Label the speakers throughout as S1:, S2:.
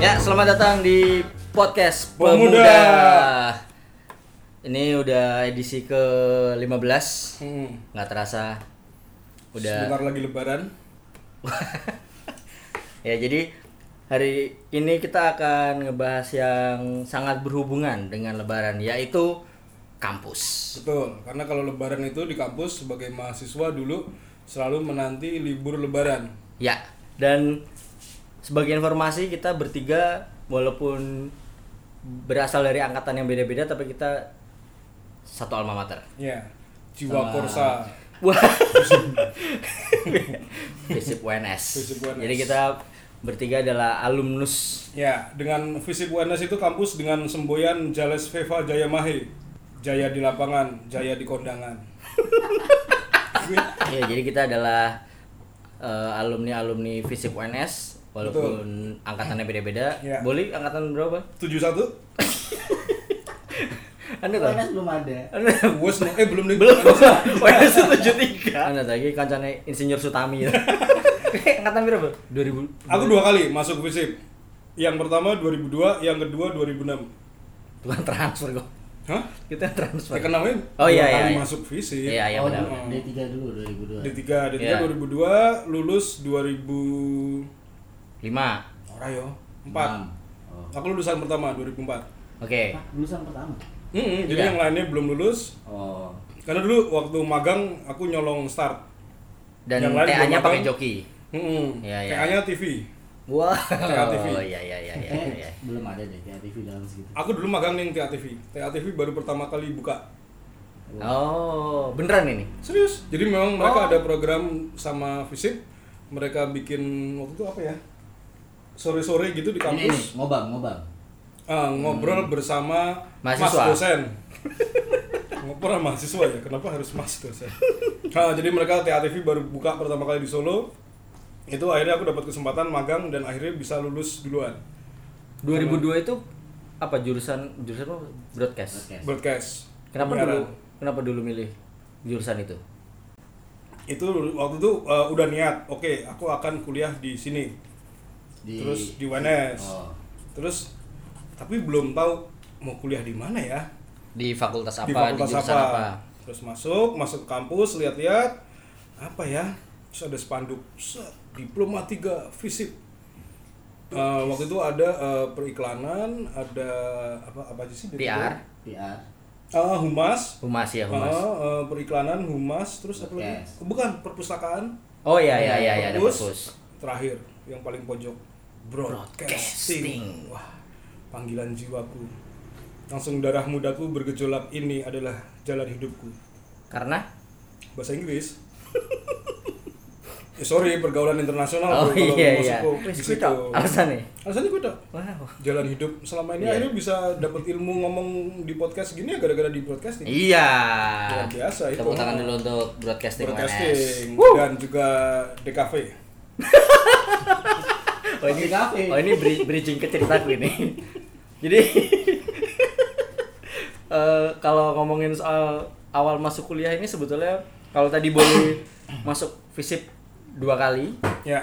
S1: Ya, selamat datang di podcast
S2: Pemuda.
S1: Pemuda. Ini udah edisi ke-15.
S2: Hmm.
S1: Nggak terasa udah
S2: Sebentar lagi lebaran.
S1: Ya, jadi hari ini kita akan ngebahas yang sangat berhubungan dengan lebaran yaitu kampus.
S2: Betul, karena kalau lebaran itu di kampus sebagai mahasiswa dulu selalu menanti libur lebaran.
S1: Ya, dan sebagai informasi kita bertiga walaupun berasal dari angkatan yang beda-beda tapi kita satu alma mater.
S2: Ya. Jiwa Korsa.
S1: Wah. Fisip UNS.
S2: Fisip UNS.
S1: Jadi kita bertiga adalah alumnus.
S2: Ya, dengan visi UNS itu kampus dengan semboyan Jales Veva Jaya Mahe. Jaya di lapangan, jaya di kondangan.
S1: Ya, jadi kita adalah eh, alumni alumni Fisip UNS walaupun angkatannya beda-beda.
S2: Iya.
S1: Boleh angkatan berapa?
S2: 71?
S1: Anda tahu?
S3: PNS belum ada.
S1: Anda
S2: Wes no- eh belum nih.
S1: belum. UNS itu 73. Anda tadi kancane insinyur Sutami. ya. Eh, angkatan berapa? 2000.
S2: Aku dua kali masuk visip. Yang pertama 2002, yang kedua 2006.
S1: Tuhan transfer kok.
S2: Hah?
S1: Kita transfer.
S2: Ya kan namanya
S1: Oh,
S2: dua
S1: iya, iya,
S2: kali
S1: iya.
S2: masuk visip.
S1: Iya, iya
S3: oh,
S1: benar.
S3: dulu, D3 dulu 2002.
S2: D3, D3
S1: Iya.
S2: 2002, lulus 2000
S1: 5.
S2: Ora yo, 4.
S3: Oh.
S2: Aku lulusan pertama 2004.
S1: Oke.
S3: Ah, lulusan pertama.
S2: Hmm, jadi
S1: Iya.
S2: yang lainnya belum lulus.
S3: Oh.
S2: Karena dulu waktu magang aku nyolong start.
S1: Dan
S2: Yang lain
S1: TA-nya
S2: belum
S1: pakai
S2: matang.
S1: joki.
S2: Hmm,
S1: Iya, iya.
S2: TA-nya TV.
S1: Wow.
S2: TV.
S1: Oh iya iya iya iya. iya.
S3: Eh, belum ada deh kayak gitu. TV dalam segitu.
S2: Aku dulu magang nih TA TV. TA TV baru pertama kali buka.
S1: Oh, beneran ini?
S2: Serius. Jadi
S1: Oh.
S2: memang mereka ada program sama fisip. Mereka bikin waktu itu apa ya? Sore-sore gitu di
S3: Ini, ini,
S2: kampus
S3: ngobam, ngobam.
S2: eh, ngobrol bersama
S1: Hmm. Mahasiswa.
S2: mas dosen. Ngobrol sama mahasiswa ya, kenapa harus mas dosen? Nah, jadi mereka TA TV baru buka pertama kali di Solo. Itu akhirnya aku dapat kesempatan magang dan akhirnya bisa lulus duluan.
S1: 2002 itu apa jurusan jurusan apa? broadcast.
S3: Broadcast.
S2: Broadcast.
S1: Kenapa dulu
S2: Penyiaran.
S1: kenapa dulu milih jurusan itu?
S2: Itu waktu itu eh, udah niat, oke, aku akan kuliah di sini.
S3: Di
S2: Terus di UNS.
S3: Oh.
S2: Terus tapi belum tahu mau kuliah di mana ya.
S1: Di fakultas apa? Di,
S2: di fakultas
S1: jurusan
S2: apa.
S1: apa?
S2: Terus masuk, masuk ke kampus, lihat-lihat apa ya? Terus ada spanduk set, Diploma 3 Fisip. Eh, waktu itu ada eh, periklanan, ada apa apa aja sih?
S1: PR,
S3: PR.
S2: Eh, humas.
S1: humas ya,
S2: Eh,
S1: humas.
S2: eh, periklanan, humas, terus apa lagi?
S3: Broadcast.
S2: Bukan perpustakaan.
S1: Oh iya iya iya iya ada
S2: Perpus.
S1: perpus.
S2: Terakhir yang paling pojok
S1: Broadcasting.
S2: broadcasting. Wah, panggilan jiwaku. Langsung darah mudaku bergejolak ini adalah jalan hidupku.
S1: Karena
S2: bahasa Inggris. Eh, sorry pergaulan internasional
S1: Oh
S2: bro,
S1: iya
S2: kalau mau
S1: iya.
S2: masuk ke- di
S1: Wis,
S2: situ.
S1: kuitok. Alasan nih.
S2: Alasannya beda.
S1: Wow.
S2: Jalan hidup selama ini
S1: Iya.
S2: akhirnya bisa dapat ilmu ngomong di podcast gini ya gara-gara di broadcasting.
S1: Iya.
S2: Luar biasa itu.
S1: Tepuk tangan dulu untuk broadcasting,
S2: Broadcasting
S1: UNS. Wuh.
S2: dan juga DKV.
S1: Oh ini
S3: Di kafe.
S1: Oh ini bri- bridging ke ceritaku ini. Jadi eh, kalau ngomongin soal awal masuk kuliah ini sebetulnya kalau tadi boleh masuk fisip dua kali,
S2: Ya.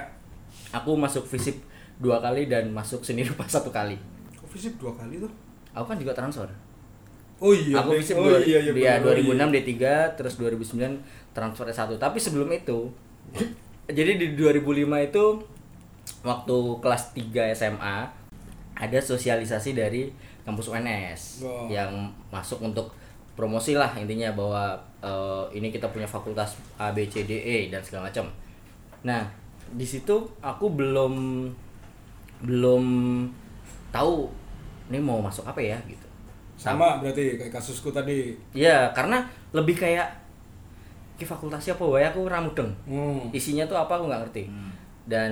S1: aku masuk fisip dua kali dan masuk seni rupa satu kali.
S2: Kok visip dua kali tuh?
S1: Aku kan juga transfer.
S2: Oh iya.
S1: aku
S2: Dek.
S1: fisip
S2: oh,
S1: dua,
S2: iya, iya,
S1: dia
S2: bener,
S1: 2006
S2: iya.
S1: D3 terus 2009 transfer S1. Tapi sebelum itu jadi di 2005 itu waktu kelas 3 SMA ada sosialisasi dari kampus UNS
S2: Oh.
S1: yang masuk untuk promosi lah intinya bahwa eh, ini kita punya fakultas A B C D E dan segala macam. Nah, di situ aku belum belum tahu ini mau masuk apa ya gitu.
S2: Sama berarti kayak kasusku tadi.
S1: Iya, karena lebih kayak ke fakultasnya apa wae aku ramudeng.
S2: Hmm.
S1: Isinya tuh apa aku nggak ngerti. Dan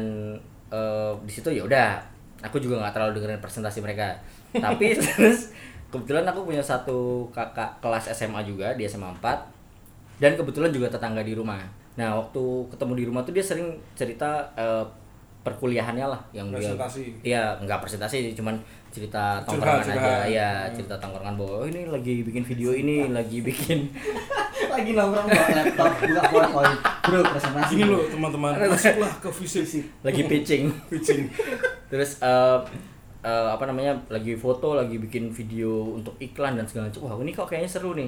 S1: eh, di situ ya udah, aku juga nggak terlalu dengerin presentasi mereka. Tapi terus kebetulan aku punya satu kakak kelas SMA juga di SMA 4 dan kebetulan juga tetangga di rumah. Nah, waktu ketemu di rumah tuh dia sering cerita eh, perkuliahannya lah yang dia
S2: Presentasi.
S1: Iya, nggak presentasi, cuman cerita
S2: Curhat,
S1: tongkrongan aja.
S2: curhat. Hmm.
S1: Iya, cerita tongkrongan bahwa "Oh, ini lagi bikin video ini, lagi bikin
S3: Lagi nongkrong bawa laptop, buka PowerPoint. Bro, presentasi.
S2: Ini loh teman-teman, masuklah ke visip.
S1: lagi pitching.
S2: Pitching.
S1: Terus eh, eh, apa namanya lagi foto lagi bikin video untuk iklan dan segala macam wah ini kok kayaknya seru nih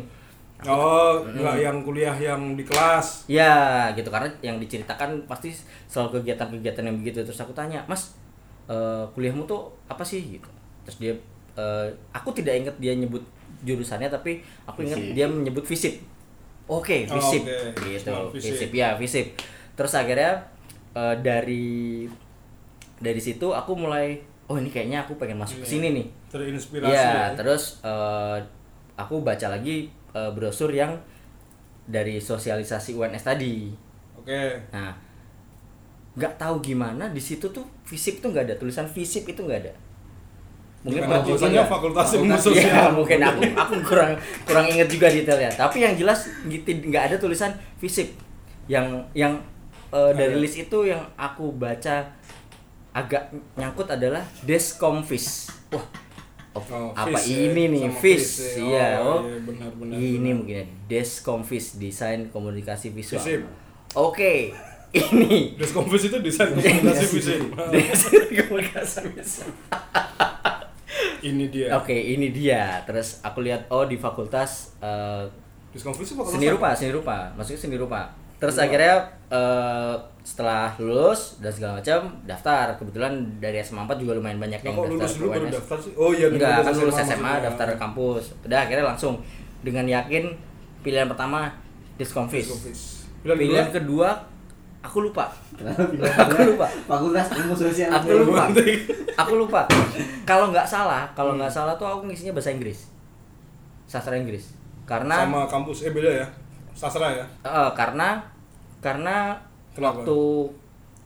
S2: Oh, nggak yang kuliah yang di kelas.
S1: Ya gitu karena yang diceritakan pasti selalu kegiatan-kegiatan yang begitu terus aku tanya Mas eh, kuliahmu tuh apa sih gitu terus dia eh, aku tidak ingat dia nyebut jurusannya tapi aku ingat
S4: Fisip.
S1: dia menyebut fisip oke
S2: Oh,
S1: fisip
S2: oke.
S1: gitu
S2: Cuma fisip.
S1: fisip ya fisip terus akhirnya eh, dari dari situ aku mulai oh ini kayaknya aku pengen masuk ke
S2: Iya.
S1: sini nih
S2: Terinspirasi.
S1: Iya,
S2: ya.
S1: terus eh, aku baca lagi eh, brosur yang dari sosialisasi UNS tadi.
S2: Oke.
S1: Nah, nggak tahu gimana di situ tuh fisip tuh nggak ada tulisan fisip itu nggak ada. Mungkin
S2: Karena
S1: Pak Joko
S2: jurusannya
S1: nggak-
S2: fakultas ilmu
S1: Fakultas-
S2: sosial.
S1: Iya, mungkin aku aku kurang kurang inget juga detailnya. Tapi yang jelas gitu, nggak ada tulisan fisip yang yang eh, dari list itu yang aku baca agak nyangkut adalah deskomfis. Wah,
S2: Oh,
S1: apa
S2: fish, ya.
S1: ini nih
S2: Sama
S1: fish?
S2: fish, ya.
S1: Iya, oh.
S2: Oh, iya, benar-benar,
S1: Ini
S2: benar.
S1: mungkin ya, deskomfis desain komunikasi visual.
S2: Fisip.
S1: Oke, ini
S2: Diskonfus itu desain komunikasi fisik.
S1: desain komunikasi visual.
S2: Ini dia.
S1: Oke, ini dia. Terus aku lihat oh di fakultas eh,
S2: Diskonfus itu fakultas
S1: seni
S2: apa?
S1: rupa, seni rupa. Maksudnya seni rupa. Terus akhirnya eh, setelah lulus dan segala macam daftar. Kebetulan dari SMA 4 juga lumayan banyak
S2: Nah,
S1: yang
S2: kok
S1: daftar
S2: lulus
S1: ke
S2: dulu baru
S1: UNS.
S2: daftar sih? Oh iya,
S1: Enggak, kan lulus SMA,
S2: maksudnya.
S1: daftar ke kampus. Udah akhirnya langsung dengan yakin pilihan pertama diskonfis.
S2: Diskonfus.
S1: Pilihan,
S2: Pilihan kedua?
S1: kedua aku lupa.
S3: Aku
S1: lupa.
S3: Fakultas ilmu sosial.
S1: Aku lupa. aku lupa. Kalau nggak salah, kalau
S2: Hmm.
S1: nggak salah tuh aku ngisinya bahasa Inggris. Sastra Inggris. Karena
S2: sama kampus eh beda ya. Sastra ya.
S1: eh, karena karena
S2: Kenapa?
S1: waktu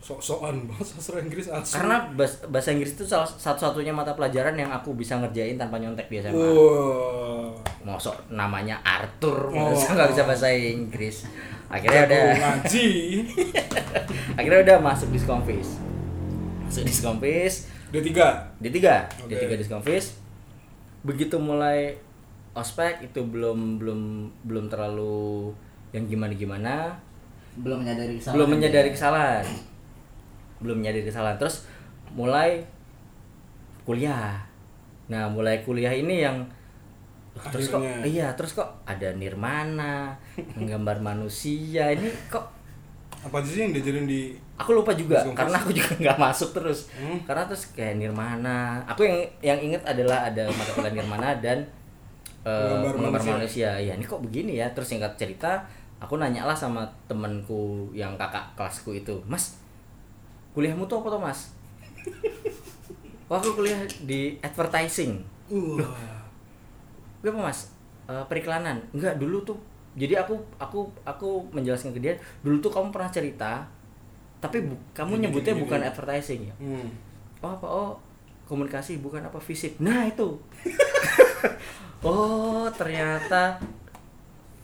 S2: Sok-sokan banget sastra Inggris asli.
S1: karena bahas- bahasa Inggris itu salah satu-satunya mata pelajaran yang aku bisa ngerjain tanpa nyontek biasanya.
S2: Oh. Wah.
S1: mosok namanya Arthur
S2: Oh.
S1: masa nggak bisa bahasa Inggris akhirnya
S2: Jago
S1: udah
S2: ngaji.
S1: akhirnya udah masuk diskonfis masuk diskonfis
S2: D3.
S1: di tiga di
S2: Oke.
S1: tiga diskonfis begitu mulai ospek itu belum belum belum terlalu yang gimana gimana
S3: Belum menyadari kesalahan.
S1: belum menyadari kesalahan belum menyadari kesalahan terus mulai kuliah nah mulai kuliah ini yang "Loh, terus kok
S2: Akhirnya.
S1: iya terus kok ada nirmana menggambar manusia ini kok
S2: Apa aja sih yang diajarin di
S1: aku lupa juga
S2: Zoom
S1: karena aku juga nggak masuk terus
S2: Hmm.
S1: karena terus kayak nirmana aku yang yang inget adalah ada mata kuliah nirmana dan eh,
S2: Menggambar
S1: menggambar
S2: manusia.
S1: manusia ya ini kok begini ya terus singkat cerita aku nanya lah sama temanku yang kakak kelasku itu mas kuliahmu tuh apa tuh mas Wah, aku kuliah di advertising
S2: Wah.
S1: gue apa mas Eh, periklanan enggak dulu tuh jadi aku aku aku menjelaskan ke dia dulu tuh kamu pernah cerita tapi bu- kamu
S2: Gini,
S1: nyebutnya
S2: gini,
S1: bukan
S2: gini.
S1: advertising ya
S2: Hmm.
S1: oh apa oh komunikasi bukan apa fisip nah itu oh ternyata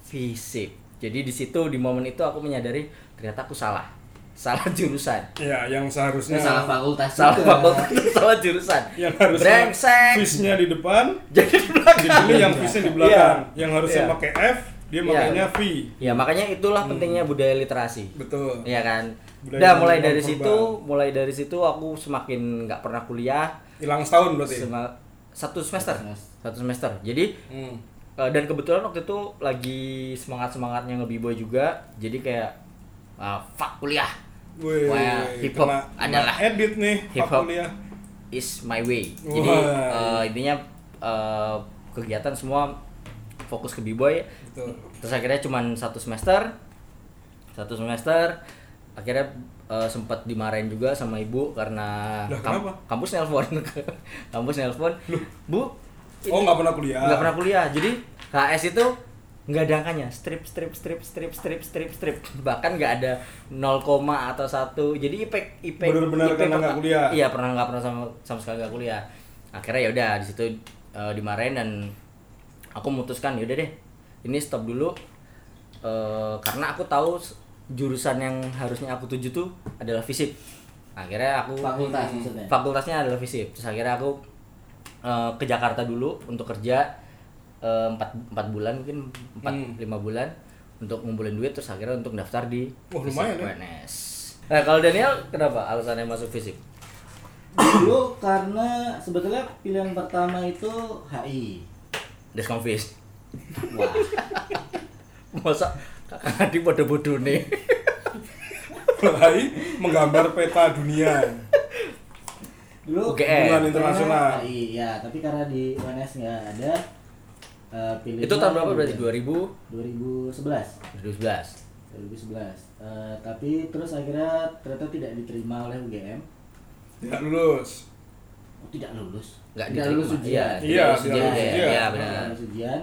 S1: fisip jadi di situ di momen itu aku menyadari ternyata aku salah salah jurusan
S2: Ya, yang seharusnya
S3: Salah fakultas.
S1: salah
S3: juga.
S1: fakultas salah jurusan
S2: Iya. yang harusnya
S1: brengsek
S2: fishnya di depan,
S1: jadi di belakang
S2: dipilih yang fishnya di belakang.
S1: Iya.
S2: Yang harusnya
S1: Iya.
S2: pakai F, dia
S1: Iya.
S2: makainya V.
S1: ya makanya itulah pentingnya budaya literasi
S2: Betul.
S1: Iya kan.
S2: Budaya
S1: Udah
S2: yang
S1: mulai
S2: berkembang.
S1: dari situ, mulai dari situ aku semakin nggak pernah kuliah
S2: Hilang setahun berarti.
S1: sema- satu semester,
S3: Satu semester.
S1: satu semester. Jadi
S2: Hmm.
S1: eh, dan kebetulan waktu itu lagi semangat semangatnya nge-b-boy juga, jadi kayak ah, fuck kuliah
S2: Wih,
S1: Wah, hip hop
S2: kena- kena
S1: adalah
S2: edit nih
S1: hip
S2: Pak
S1: hop
S2: Kuliah.
S1: is my way. Jadi
S2: Wah.
S1: eh, intinya eh, kegiatan semua fokus ke b-boy.
S2: Betul.
S1: Terus akhirnya cuman satu semester, satu semester akhirnya eh, sempat dimarahin juga sama ibu karena
S2: Lah,
S1: kam-
S2: kenapa?
S1: kampus nelpon kampus nelpon bu
S2: Oh, nggak pernah kuliah.
S1: nggak pernah kuliah jadi HS itu nggak ada angkanya strip strip strip strip strip strip strip bahkan nggak ada 0, koma atau satu jadi IPK IPK
S2: Bener-bener
S1: IPK
S2: karena nggak
S1: perta-
S2: kuliah.
S1: iya pernah nggak pernah sama sama sekali nggak kuliah akhirnya ya udah di situ eh, dimarahin dan aku memutuskan yaudah deh ini stop dulu Eh, karena aku tahu s- jurusan yang harusnya aku tuju tuh adalah fisip akhirnya aku
S3: Fakultas maksudnya.
S1: fakultasnya adalah visip terus akhirnya aku eh, ke Jakarta dulu untuk kerja eh, empat empat bulan mungkin empat
S2: Hmm.
S1: lima bulan untuk ngumpulin duit terus akhirnya untuk daftar di
S2: Wah,
S1: Visip
S2: lumayan ya.
S1: UNS. Nah, kalau Daniel kenapa alasannya masuk fisip?
S3: dulu karena sebetulnya pilihan pertama itu HI.
S1: Diskonfis.
S3: Wah,
S1: Masa kakak adik bodoh-bodoh nih.
S2: Mulai menggambar peta dunia.
S3: dulu
S1: UGM.
S2: Hubungan
S3: karena
S2: internasional.
S3: HI ya, tapi karena di UNS nggak ada eh, pilihan.
S1: Itu tahun berapa berarti? 2000?
S3: 2011.
S1: 2011.
S3: 2011. Eh, tapi terus akhirnya ternyata tidak diterima oleh UGM.
S2: Tidak lulus.
S3: Oh, tidak lulus.
S1: Nggak
S3: tidak
S1: diterima,
S3: lulus ujian.
S1: iya.
S2: Iya,
S1: Tidak lulus
S2: tidak
S1: ujian,
S2: lulus
S1: iya,
S2: ujian.
S1: iya,
S3: Tidak
S1: benar.
S3: lulus ujian.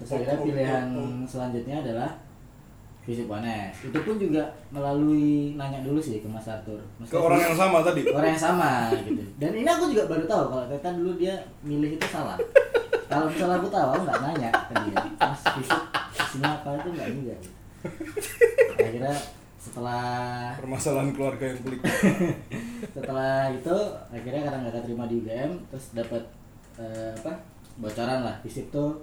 S3: Terus akhirnya pilihan selanjutnya adalah fisik UNS. Itu pun juga melalui nanya dulu sih ke Mas Arthur. Mas
S2: Ke
S3: Arthur,
S2: orang yang sama tadi.
S3: ke orang yang sama gitu. Dan ini aku juga baru tahu kalau ternyata dulu dia milih itu salah. kalau misalnya aku tahu, aku nggak nanya ke dia. Mas fisik isinya apa itu nggak juga. gitu. Akhirnya setelah
S2: Permasalahan keluarga yang pelik.
S3: setelah itu akhirnya karena nggak terima di UGM terus dapat eh, apa bocoran lah visip tuh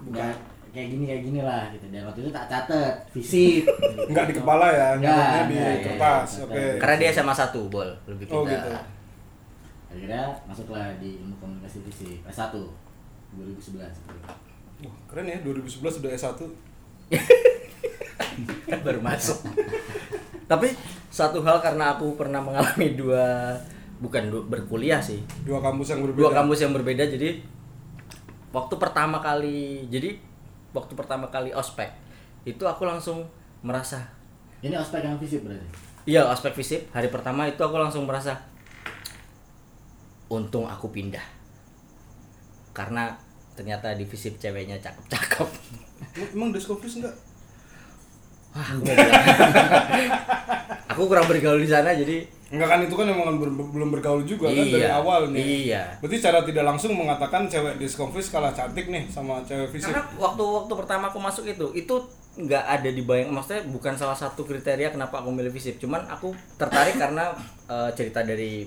S3: nggak kayak gini kayak gini lah gitu dan waktu itu tak catet visip
S2: Enggak di kepala ya,
S3: Nggak,
S2: nyatetnya di
S3: nggak, iya,
S2: kertas.
S3: iya.
S2: Oke.
S1: Karena dia SMA 1, Bol. Lebih pintar.
S2: Oh gitu.
S3: akhirnya masuklah di ilmu komunikasi visip S1 2011 gitu.
S2: Wah, keren ya 2011 sudah S1.
S1: Kan baru masuk. Tapi satu hal karena aku pernah mengalami dua bukan dua, berkuliah sih.
S2: Dua kampus yang berbeda.
S1: Dua kampus yang berbeda jadi waktu pertama kali jadi waktu pertama kali ospek itu aku langsung merasa
S3: ini ospek yang visip berarti
S1: Iya, aspek fisip. Hari pertama itu aku langsung merasa untung aku pindah. Karena ternyata di fisip ceweknya cakep-cakep.
S2: Em- Emang diskofis enggak?
S1: Wah, aku nggak bilang. aku kurang bergaul di sana jadi
S2: Enggak kan itu kan emang ber- belum bergaul juga kan dari
S1: Iya,
S2: awal nih.
S1: iya.
S2: Berarti secara tidak langsung mengatakan cewek diskonfis kalah cantik nih sama cewek fisik.
S1: karena waktu waktu pertama aku masuk itu itu nggak ada di bayang maksudnya bukan salah satu kriteria kenapa aku milih fisip cuman aku tertarik karena eh, cerita dari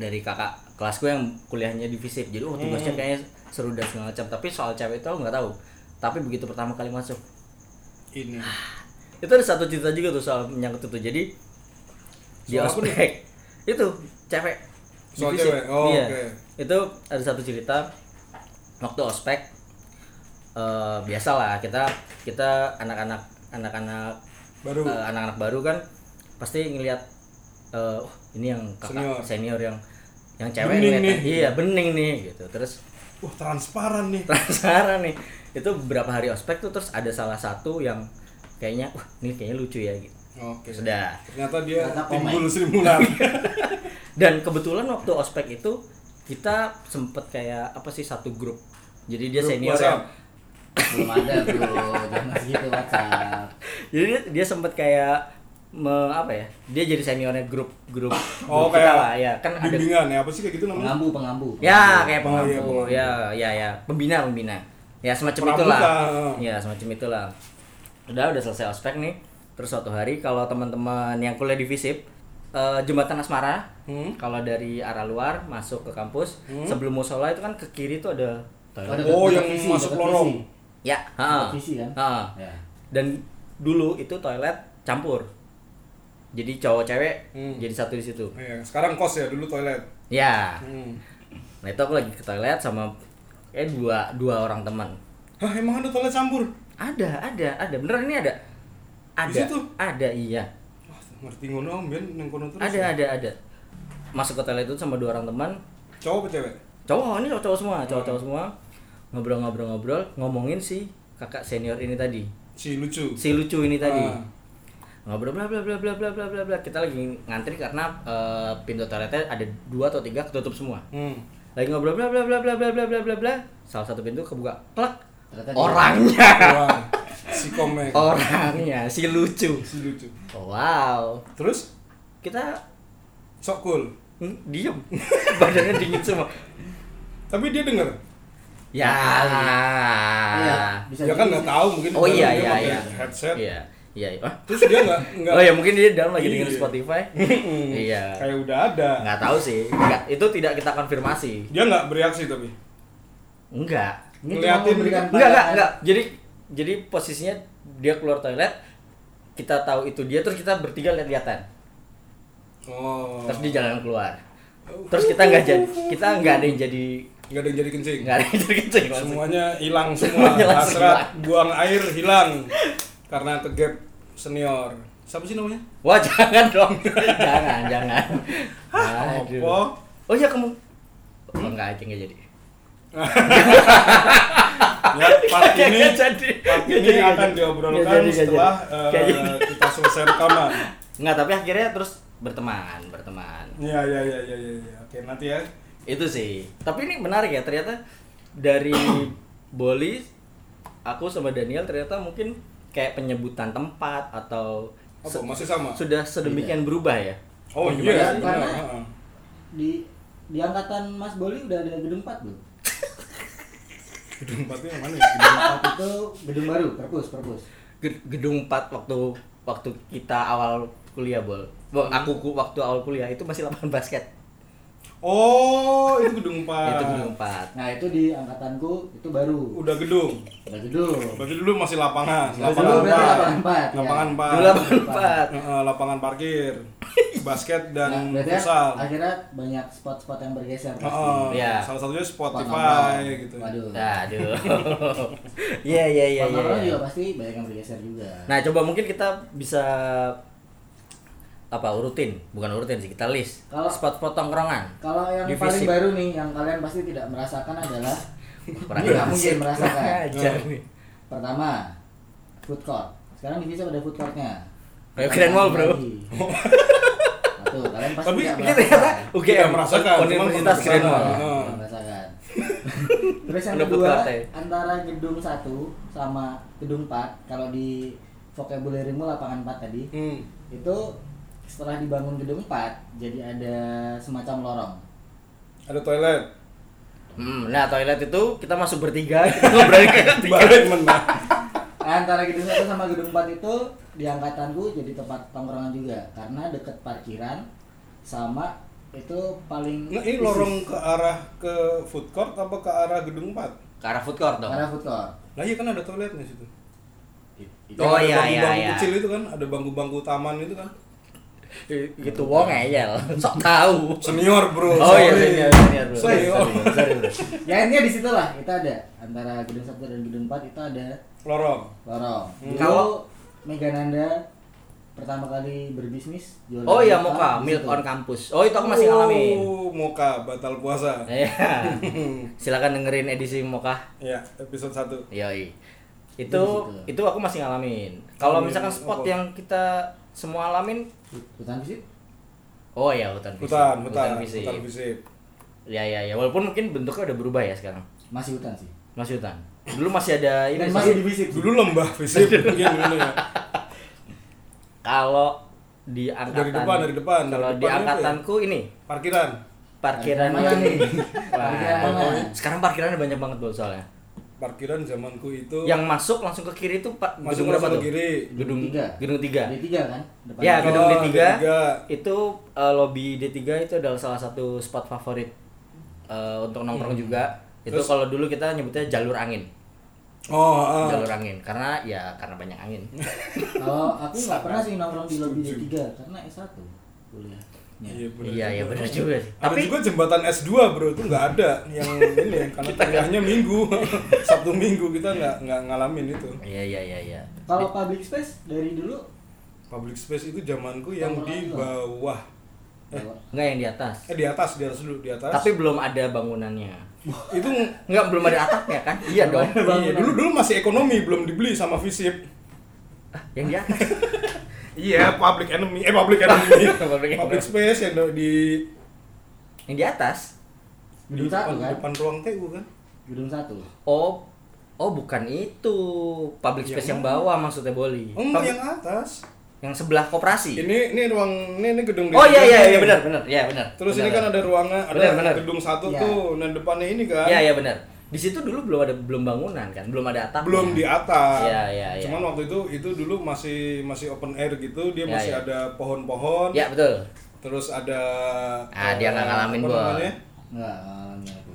S1: dari kakak kelasku yang kuliahnya di fisip jadi oh tugasnya kayaknya seru dan segala macam tapi soal cewek itu aku nggak tahu tapi begitu pertama kali masuk
S2: Ini.
S1: Ah, itu ada satu cerita juga tuh soal menyangkut itu jadi di
S2: Soal apa nih?
S1: ospek itu cewek di
S2: Soal
S1: fisip.
S2: cewek? Oh,
S1: Iya.
S2: oke.
S1: itu ada satu cerita waktu ospek eh biasalah kita kita anak-anak anak-anak
S2: Baru.
S1: eh, anak-anak baru kan pasti ngelihat eh "Oh, ini yang kakak
S2: Senior.
S1: senior, yang yang cewek
S2: Bening
S1: ngeliatnya,
S2: nih.
S1: iya bening nih gitu terus
S2: Wah, transparan nih.
S1: penasaran nih itu beberapa hari ospek tuh terus ada salah satu yang kayaknya wah ini kayaknya lucu ya gitu
S2: Oke.
S1: sudah
S2: Oh, Ternyata dia
S3: Ternyata
S2: timbul
S3: komen.
S2: Sri Mulyani.
S1: dan kebetulan waktu ospek itu kita sempet kayak apa sih satu grup jadi dia
S2: Grup
S1: senior
S2: WhatsApp.
S1: yang-
S3: belum ada bro jangan segitu WhatsApp
S1: jadi dia, dia sempet kayak me- apa ya dia jadi seniornya grup grup,
S2: Oh,
S1: grup kita
S2: kayak
S1: lah ya kan ada
S2: bimbingan ya apa sih kayak gitu namanya?
S3: pengambu pengambu
S1: ya kayak
S2: Oh, iya,
S1: pengampu
S2: pengampu.
S1: ya ya ya pembina pembina ya semacam
S2: Pramuka.
S1: itulah ya semacam itulah udah udah selesai ospek nih terus suatu hari kalau teman-teman yang kuliah di visip eh, jembatan asmara
S2: Hmm.
S1: kalau dari arah luar masuk ke kampus sebelum musola itu kan ke kiri itu ada toilet.
S3: ada
S2: Oh,
S3: dapat
S2: yang
S3: visi,
S2: masuk
S3: dapat
S2: lorong.
S3: visi.
S1: ya ha.
S3: Visi kan?
S1: Ha.
S3: ya
S1: dan dulu itu toilet campur jadi cowok cewek
S2: Hmm.
S1: jadi satu di situ
S2: Iya, sekarang kos ya dulu toilet.
S1: ya
S2: Hmm.
S1: nah itu aku lagi ke toilet sama eh dua dua orang teman
S2: Hah, emang ada toilet campur?
S1: ada ada ada beneran ini ada ada
S2: Di situ?
S1: ada iya
S2: Wah, ngerti ngono om ben neng kono terus.
S1: ada ada ada masuk ke toilet itu sama dua orang teman
S2: Cowok apa cewek?
S1: cowok oh, ini cowok, cowok semua cowok
S2: Hmm.
S1: cowok semua ngobrol-ngobrol-ngobrol ngomongin si kakak senior ini tadi
S2: Si lucu.
S1: si lucu ini tadi
S2: Ah.
S1: ngobrol bla bla bla bla bla bla bla bla kita lagi ngantri karena eh, pintu toiletnya ada dua atau tiga ketutup semua
S2: Hmm.
S1: lagi ngobrol bla bla bla bla bla bla bla bla bla salah satu pintu kebuka klak
S3: Ternyata dia.
S1: orangnya
S2: Wah, si komek.
S1: orangnya si lucu
S2: Si lucu.
S1: wow
S2: Terus
S1: kita
S2: sok cool.
S1: hmm, diem badannya dingin semua
S2: Tapi dia denger.
S1: ya
S3: Iya,
S1: Ah.
S3: bisa
S2: Dia kan
S3: jadi
S2: nggak
S3: sih.
S2: tahu mungkin
S1: oh iya
S2: di dalam dia
S1: iya
S2: pakai
S1: iya
S2: headset.
S1: iya iya Hah?
S2: Terus dia nggak nggak
S1: oh ya mungkin dia di dalam lagi dengerin
S2: Iya.
S1: Spotify iya
S2: kayak udah ada.
S1: nggak tahu sih nggak itu tidak kita konfirmasi
S2: Dia nggak bereaksi tapi.
S1: enggak
S3: Ini cuma
S2: Ngeliatin.
S3: memberikan
S1: enggak enggak
S3: pandangan.
S1: enggak jadi jadi posisinya dia keluar toilet kita tahu itu dia terus kita bertiga lihat-lihatan
S2: Oh.
S1: terus dia jalan keluar terus kita nggak jadi kita nggak ada yang jadi
S2: Nggak ada yang jadi kencing.
S1: nggak ada yang jadi kencing langsung.
S2: Semuanya hilang semua.
S1: Semuanya langsung
S2: Hasrat buang air hilang karena kegap senior. Siapa sih namanya?
S1: wah jangan dong jangan jangan Aduh.
S2: Apa?
S1: oh iya kamu oh, nggak aja nggak jadi
S2: Ya, part
S1: Nggak
S2: ini
S1: jadi
S2: part
S1: Nggak
S2: ini
S1: jadi, nggak
S2: akan
S1: jadi. Nggak
S2: diobrolkan
S1: jadi, nggak
S2: setelah
S1: jadi.
S2: eh,
S1: Nggak jadi.
S2: kita selesai rekaman.
S1: nggak tapi akhirnya terus berteman berteman
S2: Iya, iya, iya, iya, iya. Ya. Oke, nanti ya.
S1: itu sih tapi ini menarik ya ternyata dari Boli aku sama Daniel ternyata mungkin kayak penyebutan tempat atau
S2: Apa
S1: se-
S2: masih sama?
S1: sudah sedemikian berubah ya
S2: Oh
S3: Iya,
S2: iya, benar.
S3: karena-
S2: Heeh.
S3: di di angkatan Mas Boli udah ada gedung 4 belum?
S2: Gedung empatnya yang mana ya?
S3: Gedung 4 itu gedung baru, perpus, perpus.
S1: Ged- gedung 4 waktu waktu kita awal kuliah bol Bo-
S2: Hmm.
S1: aku ku- waktu awal kuliah itu masih lapangan basket
S2: Oh, itu gedung empat.
S1: itu gedung 4
S3: Nah, itu di angkatanku itu baru.
S2: Udah gedung.
S3: Ada gedung.
S2: Berarti dulu masih lapangan.
S3: Masih dulu berarti lapangan empat, ya.
S2: Lapangan empat.
S1: Iya. dulu lapangan 4
S2: Heeh, lapangan parkir, basket
S3: Nah,
S2: dan
S1: kan
S3: berarti
S2: futsal.
S3: akhirnya banyak spot-spot yang bergeser pasti.
S2: Heeh,
S1: Iya.
S2: Salah satunya
S3: Spot
S2: Ah, Spotify
S3: nongkrong.
S2: gitu.
S3: Waduh.
S1: Nah, aduh iya iya iya iya,
S3: Spot nongkrong
S1: iya
S3: juga pasti banyak yang bergeser juga.
S1: Nah, coba mungkin kita bisa apa urutin, bukan urutin sih, kita list.
S3: Kalau-
S1: spot-spot tongkrongan.
S3: Kalau yang
S1: Divisi.
S3: paling baru nih yang kalian pasti tidak merasakan adalah
S1: Kurang Iya, ajar.
S3: ini nggak Iya, mungkin merasakan. Iya.
S1: Kurang ajar nih.
S3: Pertama, food court. Sekarang divisi pada food courtnya.
S1: Kayak Grand Mall, bro.
S3: Lagi. Satu, kalian pasti
S2: Tapi
S3: tidak
S1: Ini ternyata
S3: merasakan.
S1: UGM
S2: Tidak merasakan, cuman
S1: Universitas
S2: pernah
S1: Grand Mall. Oh.
S2: kesana.
S3: Ya,
S2: Heeh.
S3: merasakan. Terus yang
S1: Udah
S3: kedua,
S1: putar, Teh.
S3: antara gedung 1 sama gedung 4, kalau di vocabulary-mu lapangan 4 tadi,
S2: Hmm.
S3: itu setelah dibangun gedung 4, jadi ada semacam lorong.
S2: Ada toilet.
S1: Hmm, nah toilet itu kita masuk bertiga, kita ngobrol bertiga.
S2: Balik menang.
S3: Nah, antara gedung 1 sama gedung 4 itu di angkatanku jadi tempat tongkrongan juga karena deket parkiran sama itu paling
S2: Nah, ini
S3: khusus.
S2: lorong ke arah ke food court apa ke arah gedung 4?
S1: Ke arah food court dong.
S3: karena food court.
S2: Lah iya kan ada toiletnya situ.
S1: Oh
S2: Yang
S1: iya
S2: ada
S1: iya
S2: bangku-bangku
S1: iya.
S2: kecil itu kan, ada bangku-bangku taman itu kan.
S1: Eh, Gitu wong ngeyel, sok tahu.
S2: Senior, Bro.
S1: Oh iya,
S2: Sorry. oh.
S1: senior, senior, bro. Sorry,
S2: Senior.
S1: bro. sorry, bro.
S3: Ya intinya di situlah kita ada antara gedung 1 dan gedung 4 itu ada
S2: Lorong.
S3: lorong.
S1: Hmm.
S3: Kalau Megananda pertama kali berbisnis jualan
S1: Oh iya, Moka,
S3: mocha di
S1: milk
S3: situ.
S1: on campus. Oh, itu aku masih ngalamin.
S2: Oh, Moka batal puasa.
S1: Iya. Silakan dengerin edisi Moka.
S2: Ya, episode 1.
S1: Yoi. Itu
S3: Itu di situ.
S1: itu aku masih ngalamin. Kalau
S2: Ngalamin
S1: misalkan spot
S2: apa?
S1: yang kita semua alamin
S3: Hutan visit.
S1: Oh ya hutan fisik.
S2: Hutan, hutan,
S1: fisik.
S2: hutan fisik.
S1: Ya ya ya, walaupun mungkin bentuknya udah berubah ya sekarang.
S3: Masih hutan sih.
S1: Masih hutan. Dulu masih ada Iya, ini.
S3: Dan
S1: sih.
S3: masih divisip.
S2: Dulu lembah
S1: Iya.
S2: fisik mungkin dulu ya.
S1: Kalau di angkatan
S2: depan, dari depan, dari
S1: Kalau di
S2: depan apa ya?
S1: angkatanku ini
S2: Parkiran.
S1: parkiran
S3: Mana nih?
S1: Wah.
S3: Parkiran mana?
S1: Sekarang parkirannya banyak banget bol soalnya.
S2: Parkiran zamanku itu
S1: Yang masuk langsung ke kiri itu Pak
S2: masuk
S1: gedung berapa
S2: masuk
S1: tuh?
S2: ke kiri.
S1: Gedung
S3: Tiga.
S1: Gedung 3.
S3: D3 kan? Depan
S1: Ya, gedung
S2: Oh,
S1: D3,
S2: D3.
S1: itu eh, lobby D3 itu adalah salah satu spot favorit eh, untuk nongkrong
S3: Hmm.
S1: juga. Itu
S2: Terus?
S1: kalau dulu kita nyebutnya jalur angin.
S2: Oh, ah.
S1: Jalur angin karena ya karena banyak angin.
S3: Kalau aku nggak pernah sih nongkrong di lobby D3 karena S1 kuliah.
S2: Iya, bener
S1: Iya, iya
S2: juga.
S1: benar juga sih.
S2: Ada
S1: Tapi
S2: juga jembatan S2 bro, itu nggak ada yang ini karena kuliahnya minggu, Sabtu minggu kita nggak nggak ngalamin itu.
S1: Iya, iya, iya, iya.
S3: Kalau public space dari dulu
S2: Public space itu zamanku yang
S3: Tongkrongan
S2: di
S3: juga.
S2: bawah,
S1: Enggak yang di atas.
S2: eh di atas di atas dulu di atas.
S1: Tapi belum ada bangunannya.
S2: itu
S1: Enggak belum ada atapnya kan? Iya dong.
S2: iya, dulu dulu masih ekonomi belum dibeli sama visip.
S1: Yang di atas.
S2: Iya, public enemy, eh public enemy,
S1: Public enemy.
S2: public, space yang di
S1: Yang di atas.
S2: di
S3: Gedung satu,
S2: depan,
S3: kan?
S2: depan ruang TU kan?
S3: gedung satu.
S1: Oh, oh bukan itu. Public
S2: Yang
S1: space yang, bawah maksudnya Boli.
S2: Oh,
S1: Pub-
S2: yang atas.
S1: yang sebelah koperasi.
S2: Ini ini ruang ini, ini gedung di
S1: Oh iya
S2: depan
S1: iya
S2: nih.
S1: iya benar benar iya benar.
S2: Terus
S1: Benar.
S2: ini kan ada ruangan, ada
S1: Benar, benar.
S2: gedung satu
S3: Iya.
S2: tuh, nah depannya ini kan.
S1: Iya iya benar. Di situ dulu belum ada belum bangunan kan, belum ada atap.
S2: Belum di atas.
S1: Iya, iya, iya.
S2: Cuman waktu itu itu dulu masih masih open air gitu, dia
S1: Iya,
S2: masih
S1: iya.
S2: ada pohon-pohon.
S1: Ya betul.
S2: Terus ada
S1: Ah, dia
S2: eh,
S1: nggak ngalamin,
S2: apa
S1: Bol.
S2: namanya?
S3: Enggak, ngalamin aku.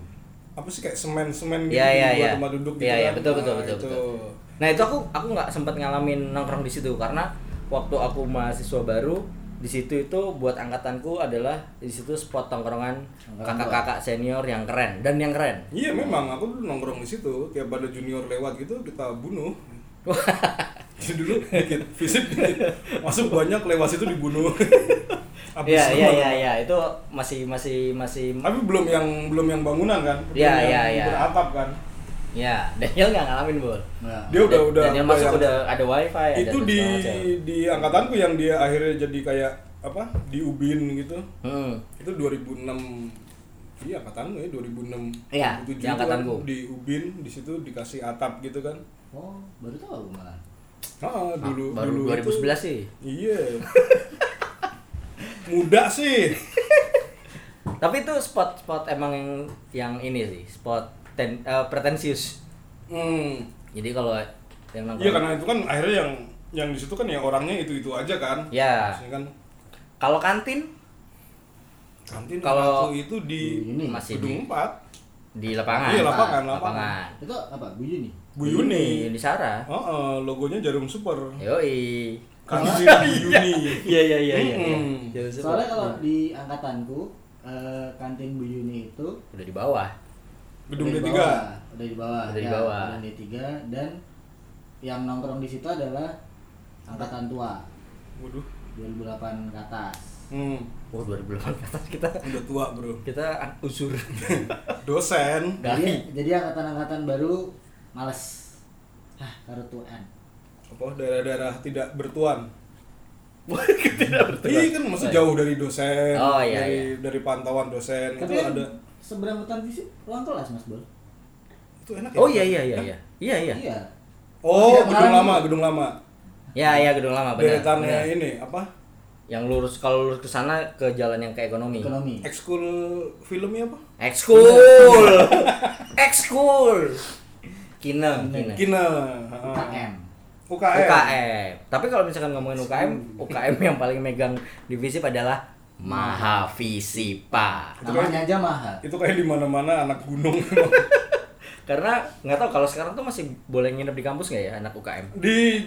S2: Apa sih kayak semen-semen gitu
S1: Iya, iya,
S2: di
S1: iya.
S2: tempat duduk gitu.
S1: Iya, iya,
S2: kan.
S1: betul, betul,
S2: Nah,
S1: betul,
S2: itu.
S1: betul. Nah itu aku aku nggak sempat ngalamin nongkrong di situ karena waktu aku mahasiswa baru di di situ itu buat angkatanku adalah di situ spot tongkrongan kakak-kakak senior yang keren dan yang keren
S2: Iya memang aku dulu nongkrong di situ tiap ada junior lewat gitu kita bunuh. Jadi dulu dikit fisik dikit masuk banyak lewat situ dibunuh. Habis
S1: Iya iya
S2: semua.
S1: iya iya itu masih masih masih
S2: Tapi belum yang belum yang bangunan kan? Belum
S1: Iya,
S2: yang
S1: iya, iya.
S2: Beratap kan?
S1: ya Daniel nggak ngalamin bol
S3: Nah,
S2: Dia udah
S1: Dan-
S2: udah
S1: Daniel
S2: udah
S1: masuk
S2: yang-
S1: udah ada wifi ada
S2: itu
S1: segala
S2: di
S1: macam.
S2: di angkatanku yang dia akhirnya jadi kayak apa di Ubin gitu
S1: hmm.
S2: itu 2006 iya angkatanmu ya 2006
S1: Iya,
S2: 2007
S1: di angkatanku.
S2: kan, di Ubin di situ dikasih atap gitu kan
S3: oh baru tahu aku malah.
S2: ah, dulu
S1: baru 2011
S2: dulu itu-
S1: sih
S2: iya muda sih
S1: tapi itu spot spot emang yang yang ini sih spot ten, eh, pretensius
S2: hmm.
S1: jadi kalau yang nongkrong
S2: iya karena itu kan akhirnya yang yang di situ kan ya orangnya itu itu aja kan
S1: Iya.
S2: Maksudnya kan
S1: kalau kantin
S2: kantin
S1: Kalau-
S2: aku itu di
S3: Ini.
S1: masih di,
S2: gedung 4
S1: di lapangan
S2: Iya, lapangan,
S1: Nah.
S2: lapangan.
S3: Itu apa? Buyu nih.
S2: Bu
S1: di
S2: Yuni
S1: Sara
S2: Oh, eh, logonya jarum super. Kan
S1: yoi
S2: Kantin Bu Yuni.
S1: iya iya iya iya
S2: Mm-mm.
S1: Jauh sebelum-
S3: Soalnya kalau di angkatanku eh, kantin Bu Yuni itu
S1: udah di bawah
S2: Gedung
S3: udah
S2: D3.
S3: di bawah, udah di bawah.
S1: Udah di
S3: ya,
S1: bawah.
S3: Gedung D3 dan yang nongkrong di situ adalah angkatan tua
S2: Waduh.
S3: 2008 ke atas.
S2: Hmm,
S1: oh 2008 ke atas kita
S2: udah tua, Bro.
S1: kita an- usur
S2: Dosen.
S1: dari
S3: Jadi, jadi angkatan-angkatan baru males. Hah, karo tuaan.
S2: Apa daerah-daerah tidak bertuan?
S1: tidak
S2: Iya kan masih jauh dari dosen,
S1: Oh, iya,
S2: dari
S1: iya.
S2: dari pantauan dosen.
S3: Tapi
S2: itu
S3: kan
S2: ada
S3: seberang hutan fisik ruang kelas Mas Bol.
S2: itu enak ya?
S1: oh iya iya iya iya iya iya
S3: Iya.
S2: Oh,
S3: Tidak
S2: gedung
S3: malam.
S2: lama, gedung lama.
S1: ya ya Iya. gedung lama benar benar.
S2: Deretannya ini apa?
S1: yang lurus kalau lurus ke sana ke jalan yang ke ekonomi
S3: Ekonomi.
S2: Ekskul filmnya apa?
S1: ekskul Iya. ekskul kinem kinem
S2: Kina.
S3: UKM.
S2: UKM.
S1: UKM. Tapi kalau misalkan ngomongin UKM, UKM yang paling megang divisi adalah Mahavisipa.
S2: Itu
S3: Namanya aja mahal.
S2: Itu kayak di mana-mana anak gunung.
S1: Karena nggak tahu kalau sekarang tuh masih boleh nginep di kampus nggak ya anak UKM?
S2: di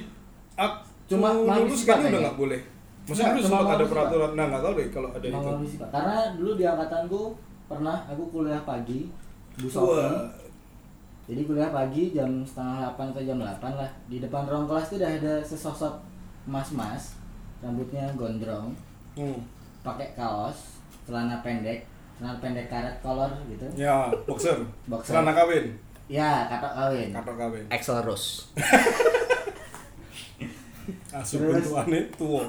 S2: aku
S3: Cuma
S2: lulus
S3: mahasiswa
S2: kayaknya udah
S3: kayaknya.
S2: nggak boleh maksudnya dulu
S3: Nggak, cuma
S2: sempat ada
S3: mahasiswa.
S2: peraturan nah nggak tahu deh kalau ada itu
S3: Nongkrong fisik, Pak. Karena dulu di angkatanku pernah aku kuliah pagi Bu
S2: Wah.
S3: Sofi. Jadi kuliah pagi jam setengah 8 atau jam 8 lah. Di depan ruang kelas tuh udah ada sesosok mas-mas rambutnya gondrong,
S2: hmm.
S3: pakai kaos, celana pendek, celana pendek karet kolor gitu.
S2: ya boxer
S3: Boxer. Eh,
S2: celana kawin
S3: Ya, kata kawin.
S2: kata kawin
S1: Axel Rose.
S2: asup
S3: Terus?
S2: bentukannya tua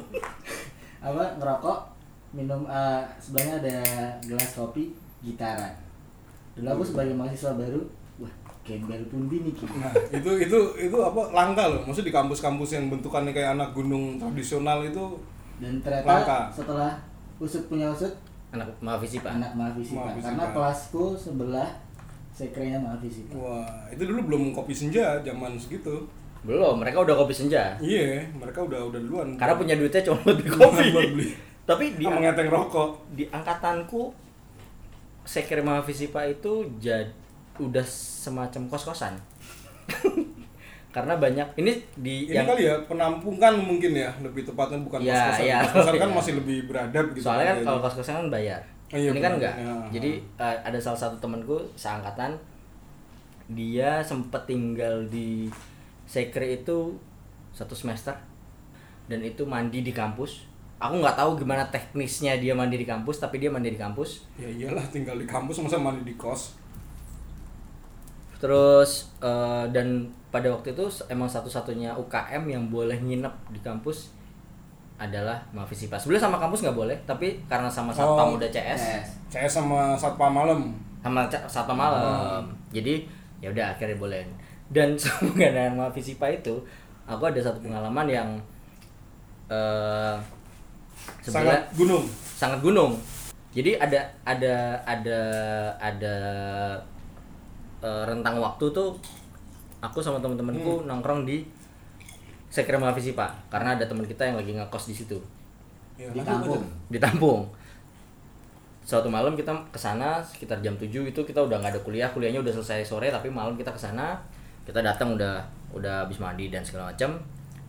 S3: Apa ngerokok, minum eh, sebelahnya ada gelas kopi, gitaran. Dulu aku sebagai mahasiswa baru, wah, gembel pundi nih Ki.
S2: nah itu itu itu apa langka loh maksudnya di kampus-kampus yang bentukannya kayak anak gunung tradisional itu
S3: dan ternyata
S2: Langka.
S3: setelah usut punya usut
S1: Anak Mahavisipa.
S3: anak mahasiswa
S2: Mahasiswa.
S3: karena kelasku sebelah sekrenya mahasiswa
S2: wah itu dulu belum kopi senja zaman segitu
S1: Belum, mereka udah kopi senja.
S2: iya mereka udah udah duluan
S1: Ah. Karena punya duitnya cuma buat beli
S2: Buat
S1: kopi.
S2: beli.
S1: Tapi di
S2: dia mengeteng rokok
S1: di angkatanku sekre Mahavisipa itu jad, udah semacam kos-kosan. Karena banyak ini di
S2: ini kali ya penampungan mungkin ya lebih tepatnya bukan
S1: Iya,
S2: kos-kosan
S1: iya.
S2: kos-kosan kan
S1: Iya.
S2: masih lebih beradab gitu
S1: Soalnya kan
S2: kayaknya.
S1: kalau kos-kosan kan bayar.
S2: Oh, iya,
S1: ini kan
S2: benar.
S1: enggak.
S2: Ya.
S1: Jadi eh, ada salah satu temanku seangkatan dia sempet tinggal di sekre itu satu semester dan itu mandi di kampus. Aku nggak tahu gimana teknisnya dia mandi di kampus, tapi dia mandi di kampus.
S2: Ya iyalah tinggal di kampus masa mandi di kos.
S1: Terus eh, dan pada waktu itu emang satu-satunya UKM yang boleh nginep di kampus adalah Mavisipa. Sebenarnya sama kampus nggak boleh, tapi karena sama satpam
S2: Oh,
S1: udah CS.
S2: Saya sama satpam malam.
S1: sama ca- satu malam jadi ya udah akhirnya boleh dan sehubungan dengan Mavisipa itu aku ada satu pengalaman yang eh
S2: Sangat
S1: sebenarnya
S2: gunung.
S1: sangat gunung jadi ada ada ada ada eh, rentang waktu tuh aku sama temen-temenku nongkrong di sekre Mavisipa karena ada teman kita yang lagi ngekos di situ
S2: Ya,
S3: di
S2: lanjut,
S3: kampung
S2: lanjut.
S1: ditampung suatu malam kita ke sana sekitar jam 7 itu kita udah nggak ada kuliah kuliahnya udah selesai sore tapi malam kita ke sana kita datang udah udah habis mandi dan segala macam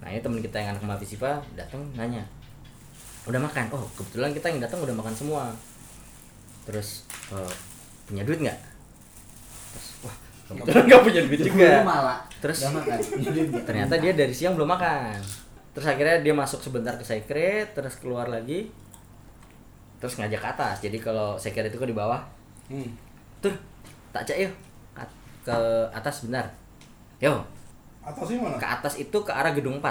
S1: nah ini teman kita yang anak mahasiswa datang nanya udah makan oh kebetulan kita yang datang udah makan semua terus eh, punya duit nggak terus wah kebetulan nggak punya duit juga
S3: Lu malah
S1: Terus?
S3: Gak makan. Iya,
S1: ternyata dia dari siang belum makan terus akhirnya dia masuk sebentar ke sekret terus keluar lagi terus ngajak ke atas jadi kalau sekret itu kan di bawah
S2: Hmm.
S1: tuh tak cek yuk At- ke atas benar yo
S2: Atasnya mana?
S1: ke atas itu ke arah gedung 4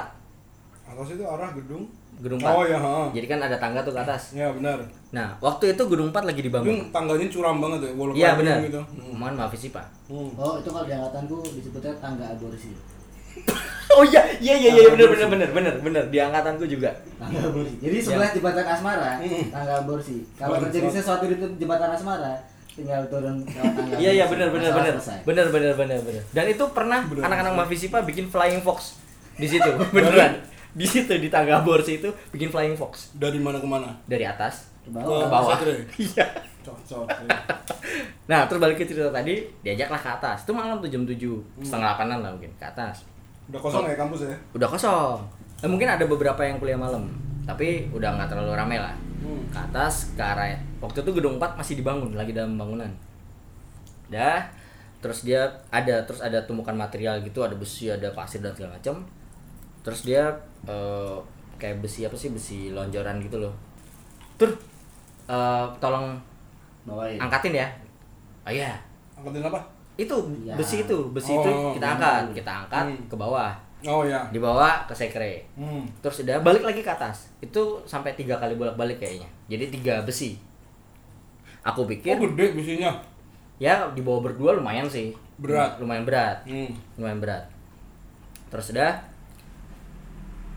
S2: Atas itu arah gedung.
S1: gedung 4
S2: Oh ya, ha.
S1: jadi kan ada tangga tuh ke atas
S2: Ya benar.
S1: nah waktu itu gedung 4 lagi dibangun
S2: Gedung tangganya curam banget ya, walaupun
S1: iya benar
S2: gitu.
S1: mohon maaf sih pak
S2: Hmm.
S3: Oh itu kalau di angkatanku disebutnya tangga aborsi.
S1: oh iya iya iya iya benar benar benar benar benar di angkatanku juga
S3: Tangga aborsi. Jadi sebelah jembatan asmara, tangga aborsi. Kalau
S2: Bagus,
S3: terjadi
S2: bagus.
S3: sesuatu di jembatan asmara, tinggal turun ke tangga.
S1: Iya iya
S3: aborsi.
S1: benar benar
S3: Masalah
S1: benar.
S3: selesai.
S1: Benar benar benar benar. Dan itu pernah
S2: Benar.
S1: anak-anak Mavisipa bikin flying fox di situ. Beneran. Di situ di tangga borsi itu bikin flying fox
S2: Dari mana ke mana?
S1: dari atas
S3: Ke
S1: ke
S3: bawah.
S1: bawah.
S2: Satria.
S1: Iya.
S2: Cocok.
S1: Nah, terus balik ke cerita tadi, diajaklah ke atas. Itu malam tuh jam 7, setengah 8 lah mungkin ke atas.
S2: Udah kosong ya kampus ya?
S1: Udah kosong. Eh, mungkin ada beberapa yang kuliah malam, tapi udah nggak terlalu rame lah.
S2: Hmm.
S1: Ke atas ke arah waktu itu gedung 4 masih dibangun, lagi dalam bangunan. Dah, terus dia ada terus ada tumpukan material gitu, ada besi, ada pasir dan segala macam. Terus dia eh, kayak besi apa sih besi lonjoran gitu loh. Tur, eh, tolong
S3: Bawain.
S1: angkatin ya. Oh iya,
S2: Angkatin apa?
S1: itu
S3: Iya.
S1: besi itu besi itu
S2: Oh,
S1: kita angkat, kita angkat
S2: Hmm.
S1: ke bawah,
S2: Oh ya.
S1: iya. dibawa ke sekre
S2: Hmm.
S1: terus udah balik lagi ke atas itu sampai tiga kali bolak balik kayaknya jadi tiga besi aku
S2: Oh
S1: pikir
S2: gede bisinya.
S1: ya dibawa berdua lumayan sih
S2: Berat.
S1: lumayan berat
S2: Hmm.
S1: lumayan berat terus udah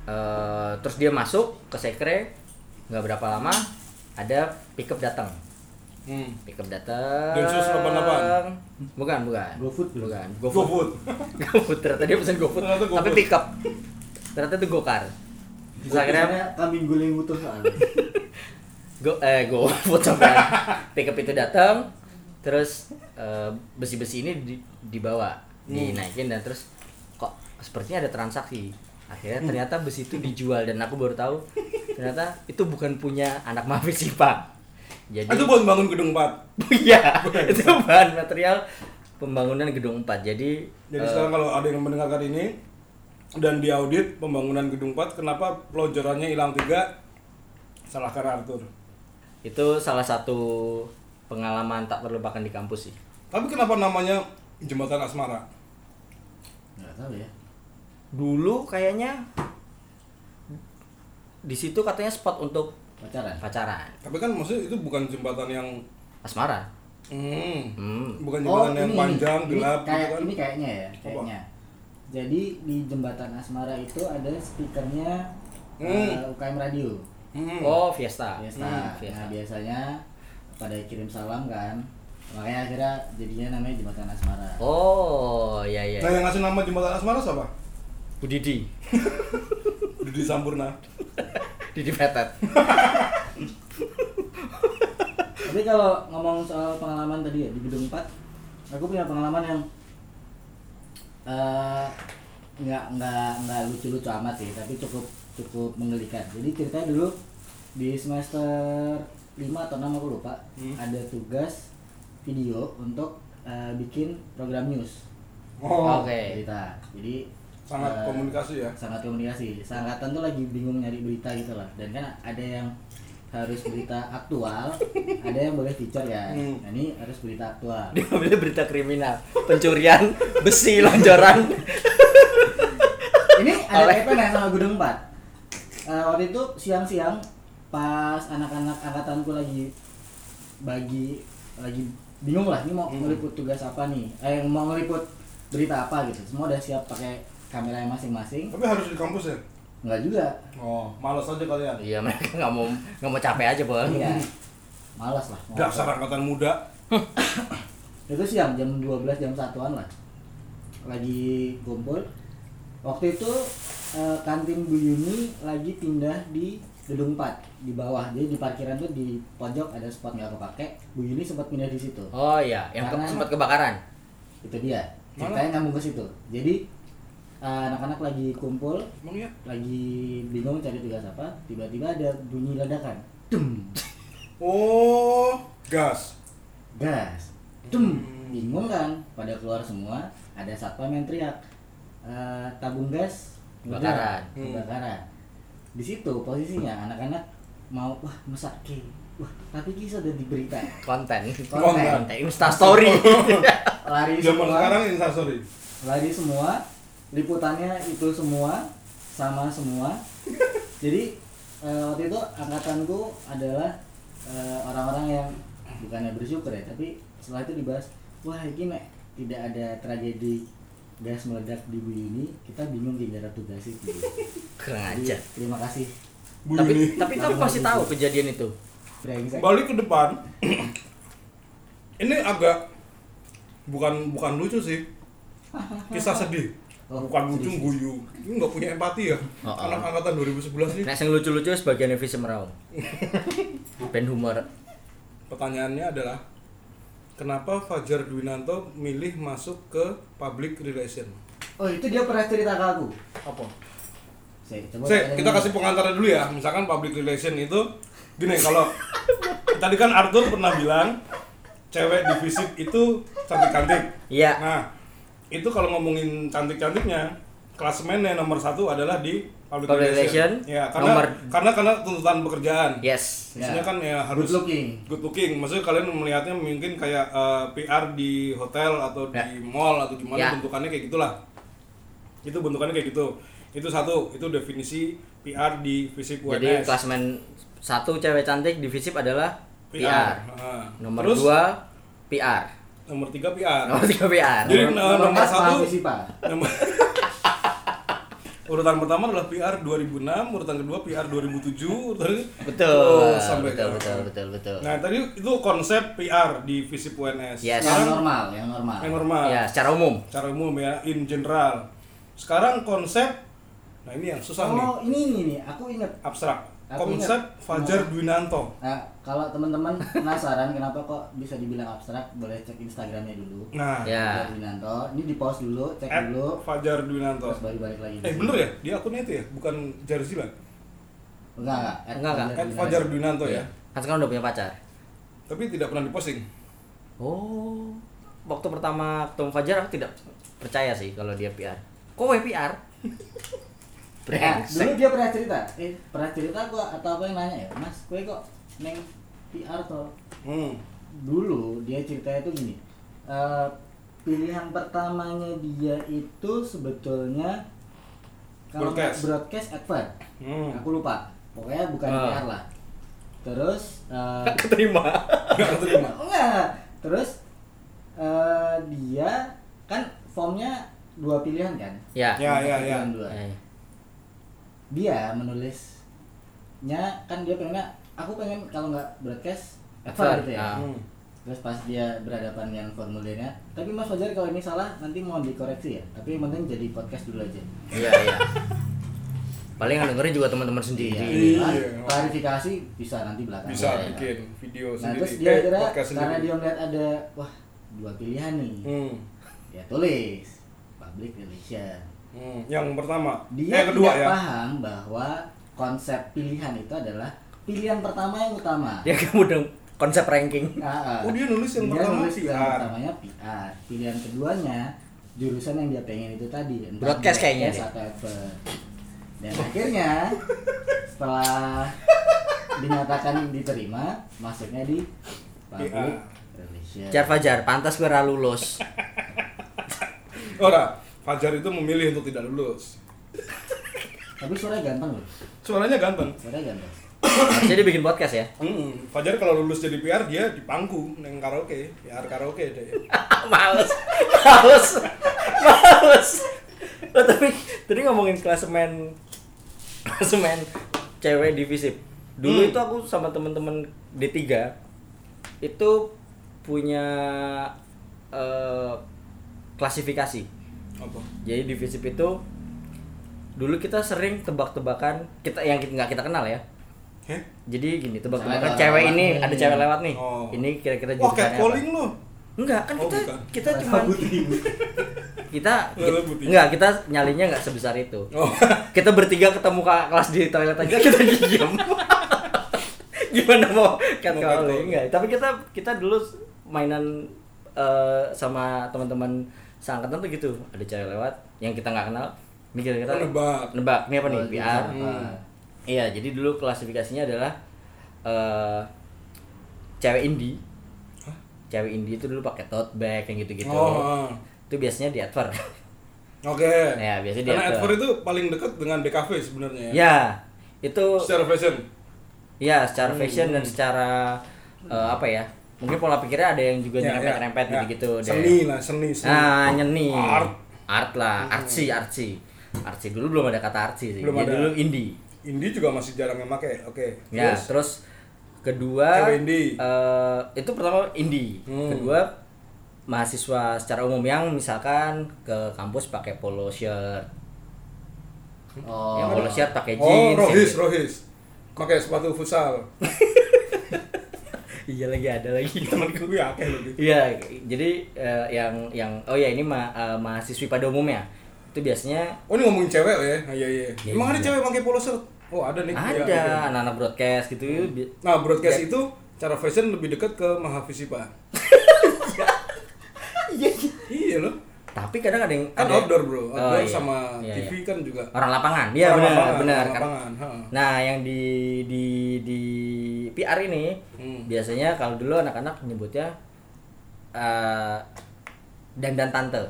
S1: eh, terus dia masuk ke sekre nggak berapa lama ada pickup datang
S2: Hmm.
S1: pickup datang
S2: Densus 88.
S1: bukan bukan
S3: GoFood dulu.
S1: bukan
S2: Go
S1: GoFood GoFood ternyata dia pesan GoFood
S2: Ternyata
S1: tapi
S2: GoFood.
S1: pickup ternyata itu gokar terus akhirnya
S3: kambing guling utuh soalnya.
S1: Go, eh, go food sampai pickup itu datang, terus eh, besi-besi ini di- dibawa,
S2: Hmm.
S1: dinaikin dan terus kok sepertinya ada transaksi. Akhirnya
S2: Hmm.
S1: ternyata besi itu dijual dan aku baru tahu ternyata itu bukan punya anak mafia sih pak. Jadi
S2: Itu buat bangun gedung 4.
S1: iya, itu bahan material pembangunan gedung 4 Jadi
S2: Jadi
S1: eh,
S2: sekarang kalau ada yang mendengarkan ini dan diaudit pembangunan gedung 4, kenapa pelonjorannya hilang tiga? Salah karena Arthur.
S1: itu salah satu pengalaman tak terlupakan di kampus sih.
S2: Tapi kenapa namanya jembatan asmara?
S3: Gak tahu ya.
S1: dulu kayaknya di situ katanya spot untuk
S3: Pacaran.
S1: pacaran
S2: Tapi kan maksudnya itu bukan jembatan yang
S1: asmara
S2: hmm,
S1: hmm.
S2: bukan jembatan yang panjang,
S3: Oh, ini
S2: gelap
S3: kayak,
S2: gitu kan.
S3: ini kayaknya ya, kayaknya. Jadi di jembatan Asmara itu ada speakernya
S2: Hmm.
S3: eh, UKM radio.
S2: Hmm.
S1: oh fiesta
S3: Biasa.
S1: Hmm,
S3: Nah,
S1: fiesta
S3: biasanya pada kirim salam kan. Makanya akhirnya jadinya namanya jembatan Asmara.
S1: oh ya ya
S2: Nah, yang ngasih nama jembatan asmara siapa?
S1: Bu Didi
S2: Didi Sampurna.
S1: Didi Petet
S3: Tapi kalau ngomong soal pengalaman tadi ya di gedung 4, aku punya pengalaman yang eh, nggak nggak nggak lucu-lucu amat sih, tapi cukup cukup menggelikan. Jadi ceritanya dulu di semester 5 atau 6 aku lupa,
S2: Hmm.
S3: ada tugas video untuk eh, bikin program news
S2: Oh,
S1: Oke.
S3: berita. Jadi
S2: sangat
S3: eh,
S2: komunikasi ya.
S3: sangat komunikasi seangkatan tuh lagi bingung nyari berita gitu lah dan kan ada yang harus berita aktual ada yang boleh feature ya
S2: Hmm.
S3: nah, ini harus berita aktual
S1: dia ngambilnya berita kriminal pencurian besi lonjoran
S3: ini ada
S1: Oleh.
S3: kaitan nggak sama gedung 4 Eh, waktu itu siang-siang pas anak-anak angkatanku lagi bagi lagi bingung lah ini mau
S2: Hmm.
S3: meliput tugas apa nih eh mau meliput berita apa gitu semua udah siap pakai kameranya masing-masing
S2: Tapi harus di kampus ya?
S3: nggak juga
S2: Oh, malas aja kalian.
S1: iya mereka nggak mau nggak mau capek aja bang
S3: iya malas lah mau
S2: Dasar angkatan muda.
S3: itu siang jam 12 jam satuan lah lagi kumpul waktu itu eh, kantin Bu Yuni lagi pindah di gedung 4 di bawah jadi di parkiran tuh di pojok ada spot nggak kepake Bu Yuni sempat pindah di situ
S1: oh iya yang ke-
S3: Karena-
S1: sempat kebakaran
S3: itu dia ceritanya nyambung ke situ jadi eh, anak-anak lagi kumpul
S2: Emang ya?
S3: lagi bingung cari tugas apa tiba-tiba ada bunyi ledakan dem
S2: Oh, gas.
S3: gas dem bingung kan pada keluar semua ada satpam yang teriak "Eh, tabung gas
S1: Kebakaran."
S3: meledak, kebakaran di situ posisinya anak-anak mau wah masak ke wah tapi kisah udah diberita
S1: konten
S2: Konten.
S1: konten instastory
S3: lari
S1: Iya,
S2: Zaman
S3: semua
S2: sekarang instastory.
S3: lari semua liputannya itu semua sama semua jadi eh, waktu itu angkatanku adalah eh, orang-orang yang bukannya bersyukur ya tapi setelah itu dibahas wah ini Mek, tidak ada tragedi gas meledak di bumi ini kita bingung gara tugas itu
S1: kurang
S3: Jadi,
S1: aja
S3: terima kasih
S2: Bu
S1: tapi
S2: ini.
S1: tapi kamu
S3: Tapi
S1: pasti
S3: bagus.
S1: tahu kejadian itu
S3: Brengsek.
S2: balik ke depan. ini agak bukan bukan lucu sih. Kisah sedih.
S3: Oh,
S2: bukan lucu
S3: serius.
S2: guyu. Ini nggak punya empati ya.
S1: Oh, Nah. oh.
S2: Anak angkatan 2011 nih.
S1: Nek sing lucu-lucu sebagian Evi Semerau. Ben humor.
S2: Pertanyaannya adalah kenapa Fajar Dwinanto milih masuk ke public relation?
S3: oh itu dia pernah cerita ke aku
S2: Apa?
S3: Saya, coba
S2: Saya, kita kasih pengantar dulu ya. Misalkan public relation itu gini kalau tadi kan Arthur pernah bilang cewek di fisip itu cantik-cantik.
S1: Iya.
S2: Nah, itu kalau ngomongin cantik-cantiknya, klasemennya nomor satu adalah di
S1: Public
S2: public, relation.
S1: relation,
S2: Ya, karena
S1: nomor-
S2: karena karena tuntutan pekerjaan.
S1: Yes.
S3: Ya.
S2: Maksudnya kan ya harus
S3: good looking
S2: good looking. Maksudnya kalian melihatnya mungkin kayak eh, PR di hotel atau di
S1: Ya.
S2: mall atau di mana
S1: Ya.
S2: bentukannya kayak gitulah. Itu bentukannya kayak gitu. Itu satu, itu definisi PR di fisip UNS.
S1: Jadi klasmen satu cewek cantik di Visip adalah PR.
S2: Heeh.
S1: Nomor
S2: Terus,
S1: dua PR.
S2: nomor tiga PR.
S1: Nomor tiga PR.
S2: Jadi, eh, nomor
S3: S,
S2: satu-
S3: Pak Visipa.
S2: Nomor- urutan pertama adalah PR 2006, urutan kedua PR 2007, urutan
S1: Betul.
S2: Oh, sampai
S1: betul,
S2: ke-
S1: betul, betul, betul.
S2: Nah, tadi itu konsep PR di Visip UNS.
S1: Yes.
S3: yang
S2: Sekarang
S3: normal Iya. yang normal
S2: yang normal.
S1: Ya, secara umum.
S2: Secara umum ya, in general. Sekarang konsep Nah, ini yang susah nih.
S3: oh ini ini nih aku inget
S2: Abstrak.
S3: Aku
S2: Konsep
S3: ingat.
S2: Fajar Dwinanto.
S3: Nah, kalau teman-teman penasaran kenapa kok bisa dibilang abstrak, boleh cek Instagramnya dulu.
S2: Nah,
S1: Ya.
S3: Fajar Dwinanto. Ini di pause dulu,
S2: at
S3: cek Iya, dulu,
S2: Fajar Dwinanto.
S3: terus baru balik lagi.
S2: Eh, bener ya? Dia akunnya itu ya, bukan Jarzilan.
S3: Enggak, Eh, enggak. at
S1: Enggak, enggak.
S2: At
S3: Fajar
S2: Fajar
S3: Dwinanto. Iya.
S2: Dwinanto ya.
S1: Kan sekarang udah punya pacar.
S2: Tapi tidak pernah diposting.
S1: Oh. Waktu pertama ketemu Fajar aku tidak percaya sih kalau dia PR. Kowe PR.
S2: Eh,
S3: Nah, dulu
S1: Brengsek.
S3: dia pernah cerita, eh pernah cerita gua atau apa yang nanya ya, Mas, gue kok neng PR toh?
S2: Hmm.
S3: Dulu dia ceritanya tuh gini, eh, pilihan pertamanya dia itu sebetulnya kalau nggak
S2: Broadcast.
S3: broadcast advert.
S2: Hmm.
S3: aku lupa pokoknya bukan
S1: Ah.
S3: PR lah terus eh,
S1: Keterima.
S2: Enggak
S3: Iya.
S2: keterima.
S3: enggak terus eh, dia kan formnya dua pilihan kan
S1: Ya.
S2: Ya, ya, ya.
S3: Pilihan dua.
S1: Eh,
S3: dia menulisnya kan dia pengennya aku pengen kalau nggak broadcast
S1: Advert,
S3: advert gitu ya
S1: ah.
S2: Hmm.
S3: terus pas dia berhadapan dengan formulirnya tapi mas Fajar kalau ini salah nanti mohon dikoreksi ya tapi yang penting jadi podcast dulu aja
S1: Iya, iya. Paling yang dengerin juga teman-teman sendiri.
S2: Iya.
S3: Kan, klarifikasi bisa nanti belakang
S2: Bisa
S1: Iya.
S2: bikin video
S3: Nah
S2: sendiri.
S3: terus dia
S2: Eh,
S3: kira
S2: podcast
S3: karena
S2: sendiri.
S3: dia melihat ada wah dua pilihan nih,
S2: Hmm.
S3: ya tulis public relation.
S2: Hmm. Yang pertama,
S3: Dia
S2: eh, kedua
S3: tidak
S2: ya.
S3: paham bahwa konsep pilihan itu adalah pilihan pertama yang utama.
S1: Ya kamu udah konsep ranking.
S3: Ah, ah.
S2: Oh, dia nulis yang pertama
S3: nulis yang
S2: PR.
S3: pertamanya PR. Pilihan keduanya jurusan yang dia pengen itu tadi. entah
S1: Broadcast kayaknya
S3: broadcast
S1: deh.
S3: atau apa. Dan akhirnya setelah dinyatakan diterima, masuknya di public
S2: PR.
S3: relation.
S1: Jar Fajar, pantas gue ra lulus.
S2: Ora, Fajar itu memilih untuk tidak lulus.
S3: Tapi suaranya ganteng loh.
S2: Suaranya ganteng.
S3: Suaranya ganteng.
S1: Jadi bikin podcast ya.
S2: Hmm. Fajar kalau lulus jadi PR dia di panggung neng karaoke, PR karaoke deh.
S1: males. Males. Males. Loh, tapi tadi ngomongin klasemen klasemen cewek di Visip. Dulu
S2: Hmm.
S1: itu aku sama temen-temen D3 itu punya eh, klasifikasi.
S2: Apa?
S1: Jadi di Visip itu dulu kita sering tebak-tebakan kita yang kita- nggak kita kenal ya.
S2: Heh?
S1: Jadi gini,
S3: Misalnya
S1: tebak-tebakan
S3: ada
S1: cewek
S3: lewat
S1: ini,
S3: nih.
S1: ada cewek lewat nih.
S2: Oh.
S1: Ini kira-kira
S2: Wah,
S1: jurusannya apa?
S2: catcalling lu.
S1: Enggak, kan
S2: Oh,
S1: kita
S2: bukan.
S1: kita
S3: Rasa
S1: cuma
S3: putih.
S1: kita
S2: Lele
S1: ki-
S2: putih.
S1: nggak kita nyalinya nggak sebesar itu
S2: Oh.
S1: kita bertiga ketemu kakak kelas di toilet aja kita diam gimana mau cat
S2: Mau
S1: call
S2: catcall.
S1: enggak tapi kita kita dulu mainan eh, sama teman-teman seangkatan tuh gitu ada cewek lewat yang kita nggak kenal ini kira-kira
S2: Oh, nebak.
S1: nebak ini apa nih
S3: Oh, iya.
S1: PR
S2: Hmm.
S1: iya jadi dulu klasifikasinya adalah eh, cewek indie
S2: Hah?
S1: cewek indie itu dulu pakai tote bag yang gitu-gitu
S2: Oh. ah.
S1: itu biasanya di adver
S2: Oke.
S1: Ya, biasanya dia
S2: Karena
S1: ke-
S2: Adver itu paling dekat dengan DKV sebenarnya. ya.
S1: ya itu
S2: Secara fashion.
S1: ya
S2: Hmm.
S1: secara fashion dan secara eh, apa ya mungkin pola pikirnya ada yang juga
S2: Ya, ya,
S1: nyerempet-nyerempet
S2: ya.
S1: gitu-gitu deh.
S2: Seni lah, seni, seni.
S1: nah nyeni
S2: Art. Hmm.
S1: art lah artsy artsy artsy dulu belum ada kata artsy sih
S2: Belum
S1: Dia
S2: ada.
S1: dulu indie
S2: Indie juga masih jarang yang make. Oke.
S1: ya
S2: Terus?
S1: terus kedua
S2: Cewek indie.
S1: eh, itu pertama indie
S2: Hmm.
S1: kedua mahasiswa secara umum yang misalkan ke kampus pakai polo shirt
S3: Oh.
S1: yang polo shirt pakai jeans
S2: Oh,
S1: yang
S2: Rohis,
S1: gitu.
S2: Rohis. Pakai sepatu futsal.
S1: iya lagi ada lagi temanku
S2: Gue akeh loh gitu.
S1: Iya, jadi eh, yang yang oh ya ini ma eh, mahasiswi pada umumnya itu biasanya
S2: Oh, ini ngomongin cewek ya? Ah, Iya, iya.
S1: Iya,
S2: Emang ada
S1: iya.
S2: cewek pakai polo shirt? Oh, ada nih. Iya,
S1: ada anak-anak broadcast gitu. bi-
S2: Nah, broadcast itu cara fashion lebih dekat ke Mahavisipa. iya loh.
S1: Tapi kadang ada yang
S2: Kan
S1: ada-
S2: outdoor, Bro.
S1: Oh,
S2: Outdoor
S1: iya.
S2: sama
S1: Iya, iya.
S2: TV kan juga.
S1: orang lapangan. Iya
S2: Orang
S1: benar,
S2: lapangan,
S1: benar.
S2: orang
S1: Karena-
S2: lapangan, ha.
S1: Nah, yang di di di PR ini
S2: Hmm.
S1: biasanya kalau dulu anak-anak menyebutnya eh dandan tante.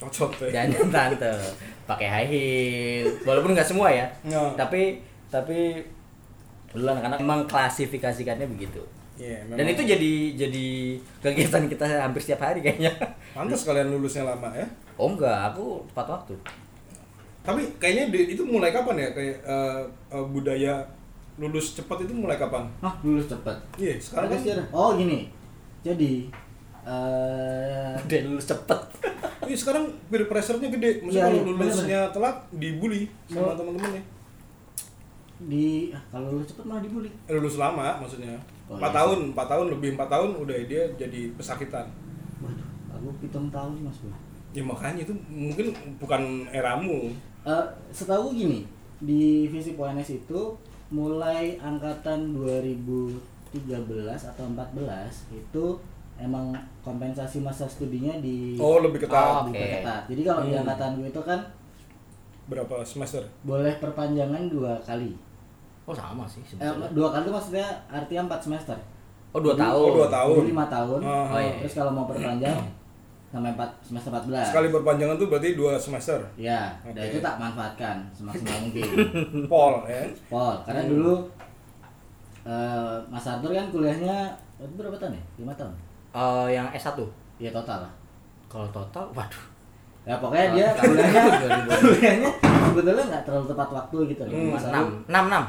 S2: Cocok tuh. ya.
S1: Dandan tante pakai high heel. Walaupun nggak semua ya.
S2: Nggak.
S1: Tapi tapi dulu anak-anak mengklasifikasikannya begitu.
S2: Iya, memang.
S1: Dan itu jadi jadi kegiatan kita hampir setiap hari kayaknya.
S2: pantas kalian lulusnya lama ya.
S1: Oh enggak, aku tepat waktu.
S2: Tapi kayaknya di- itu mulai kapan ya kayak eh, eh, budaya lulus cepat itu mulai kapan?
S3: Hah, lulus cepet.
S2: Iya, sekarang
S3: Ada
S2: kan.
S3: sih ada. Oh, gini. Jadi eh
S1: Udah lulus cepet.
S2: Iya, sekarang peer pressure-nya gede.
S3: Iya,
S2: Maksudnya kalau
S3: iya,
S2: lulusnya telat dibully sama
S3: Oh.
S2: teman-temannya.
S3: di ah, kalau lulus cepet malah dibully.
S2: Eh, Lulus lama maksudnya.
S3: Oh,
S2: Empat
S3: iya.
S2: tahun, empat tahun lebih empat tahun udah dia jadi pesakitan.
S3: Waduh, aku hitung tahun sih mas bro.
S2: Ya makanya itu mungkin bukan eramu.
S3: Eh, setahu aku gini di visi UNS itu mulai angkatan 2013 atau 14 itu emang kompensasi masa studinya di
S2: Oh, lebih
S1: Oh.
S2: ketat.
S3: diperketat. Jadi kalau di
S2: Hmm.
S3: angkatan gue itu kan
S2: Berapa semester?
S3: boleh perpanjangan dua kali.
S1: Oh sama sih
S3: Eh,
S1: sebenarnya.
S3: dua kali itu maksudnya artinya empat semester.
S1: Oh dua
S3: Jadi-
S1: tahun.
S2: Oh, dua tahun.
S3: Jadi lima tahun.
S2: Ah.
S1: Oh, iya.
S3: Terus kalau mau perpanjang sampai empat semester 14.
S2: Sekali perpanjangan tuh berarti dua semester.
S3: Ya, dan
S2: Oke.
S3: itu tak manfaatkan semaksimal mungkin.
S2: Pol ya.
S3: Pol, karena
S1: Hmm.
S3: dulu eh, Mas Arthur kan kuliahnya waktu itu berapa tahun ya? Lima tahun.
S1: Eh, yang S1.
S3: Ya total lah.
S1: Kalau total waduh.
S3: Ya pokoknya dia
S1: Total.
S3: kuliahnya
S1: Total.
S3: kuliahnya sebetulnya nggak terlalu tepat waktu gitu loh.
S2: Hmm,
S3: Mas
S1: enam
S3: Arthur
S1: enam enam.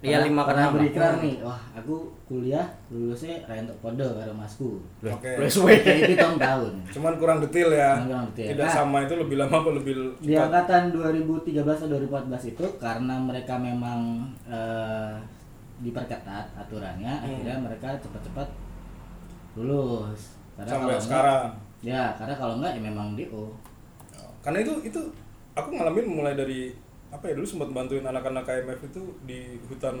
S1: Iya
S3: pernah-
S1: lima ke
S3: pernah
S1: enam.
S3: berikrar nih. Wah, aku kuliah lulusnya rentok kode karo masku. gitu
S1: Loh,
S2: Oke.
S1: loh, suwe.
S3: Jadi itu tahun.
S2: Cuman kurang detail ya.
S3: Cuman kurang detail.
S2: Tidak
S3: Nah. Iya, kan.
S2: sama itu lebih lama apa lebih
S3: di angkatan 2013 atau 2014 itu karena mereka memang eh, diperketat aturannya
S2: Hmm.
S3: akhirnya mereka cepat-cepat lulus karena
S2: sampai
S3: kalau
S2: sekarang.
S3: enggak, ya karena kalau enggak ya memang DO
S2: Karena itu itu aku ngalamin mulai dari apa ya dulu sempat bantuin anak-anak KMF itu di hutan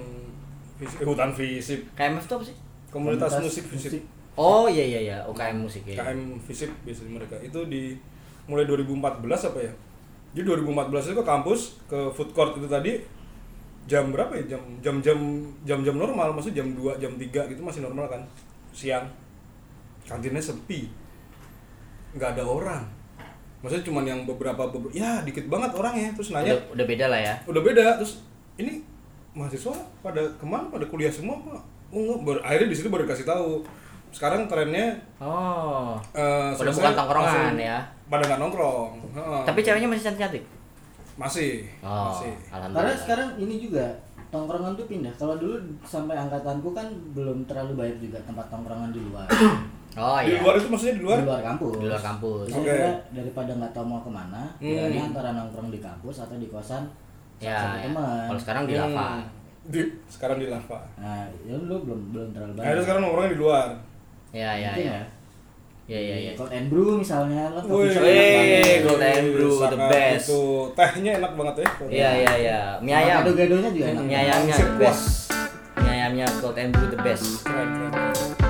S2: Fis- eh, hutan fisip
S1: KMF itu apa sih?
S2: komunitas,
S3: Komunitas
S2: musik
S3: musik.
S2: fisip
S1: Oh iya iya iya, UKM musik ya.
S2: KM fisip biasanya mereka itu di mulai 2014 apa ya jadi 2014 itu ke kampus ke food court itu tadi jam berapa ya jam jam jam jam jam normal maksudnya jam 2 jam 3 gitu masih normal kan siang kantinnya sepi nggak ada orang maksudnya cuman yang beberapa beberapa ya dikit banget orangnya terus nanya
S1: Udah, udah beda lah ya.
S2: udah beda terus ini mahasiswa pada kemana pada kuliah semua pak oh, enggak. Baru- akhirnya di situ baru kasih tahu sekarang trennya
S1: Oh.
S2: eh,
S1: Udah
S2: selesai
S1: bukan tongkrongan
S2: langsung
S1: ya.
S2: pada nggak nongkrong Heeh.
S1: Tapi ceweknya masih cantik-cantik.
S2: masih
S1: Oh,
S2: masih
S3: karena
S1: alhamdulillah.
S3: sekarang ini juga tongkrongan tuh pindah kalau dulu sampai angkatanku kan belum terlalu banyak juga tempat tongkrongan di luar
S1: Oh
S2: di
S1: iya.
S2: luar itu maksudnya di luar
S3: di luar kampus
S1: Di luar kampus.
S3: Jadi
S2: Oke.
S3: akhirnya daripada nggak tahu mau kemana
S2: Hmm.
S3: pilihannya antara nongkrong di kampus atau di kosan
S1: Ya,
S3: satu
S1: ya.
S3: teman
S1: Kalau sekarang di
S2: Hmm.
S1: lava.
S2: di sekarang di lava
S3: nah ya lu belum belum terlalu banyak
S2: kan? akhirnya sekarang nongkrongnya di luar
S1: Ya ya
S3: Mungkin
S1: ya.
S3: ya.
S1: Iya, iya, iya.
S3: Cold and brew misalnya kan
S2: Wih,
S3: kopi shop enak banget.
S1: Wih, Gold and Brew, the
S2: sangat
S1: best.
S2: Itu tehnya enak banget ya.
S1: Iya iya iya. Mie
S3: Sama
S1: ayam. Iya,
S3: Gado-gadonya juga enak.
S1: Mie ayamnya
S2: Langsung
S1: the
S2: puas.
S1: best. Mie ayamnya cold and brew the best.
S2: Keren, keren.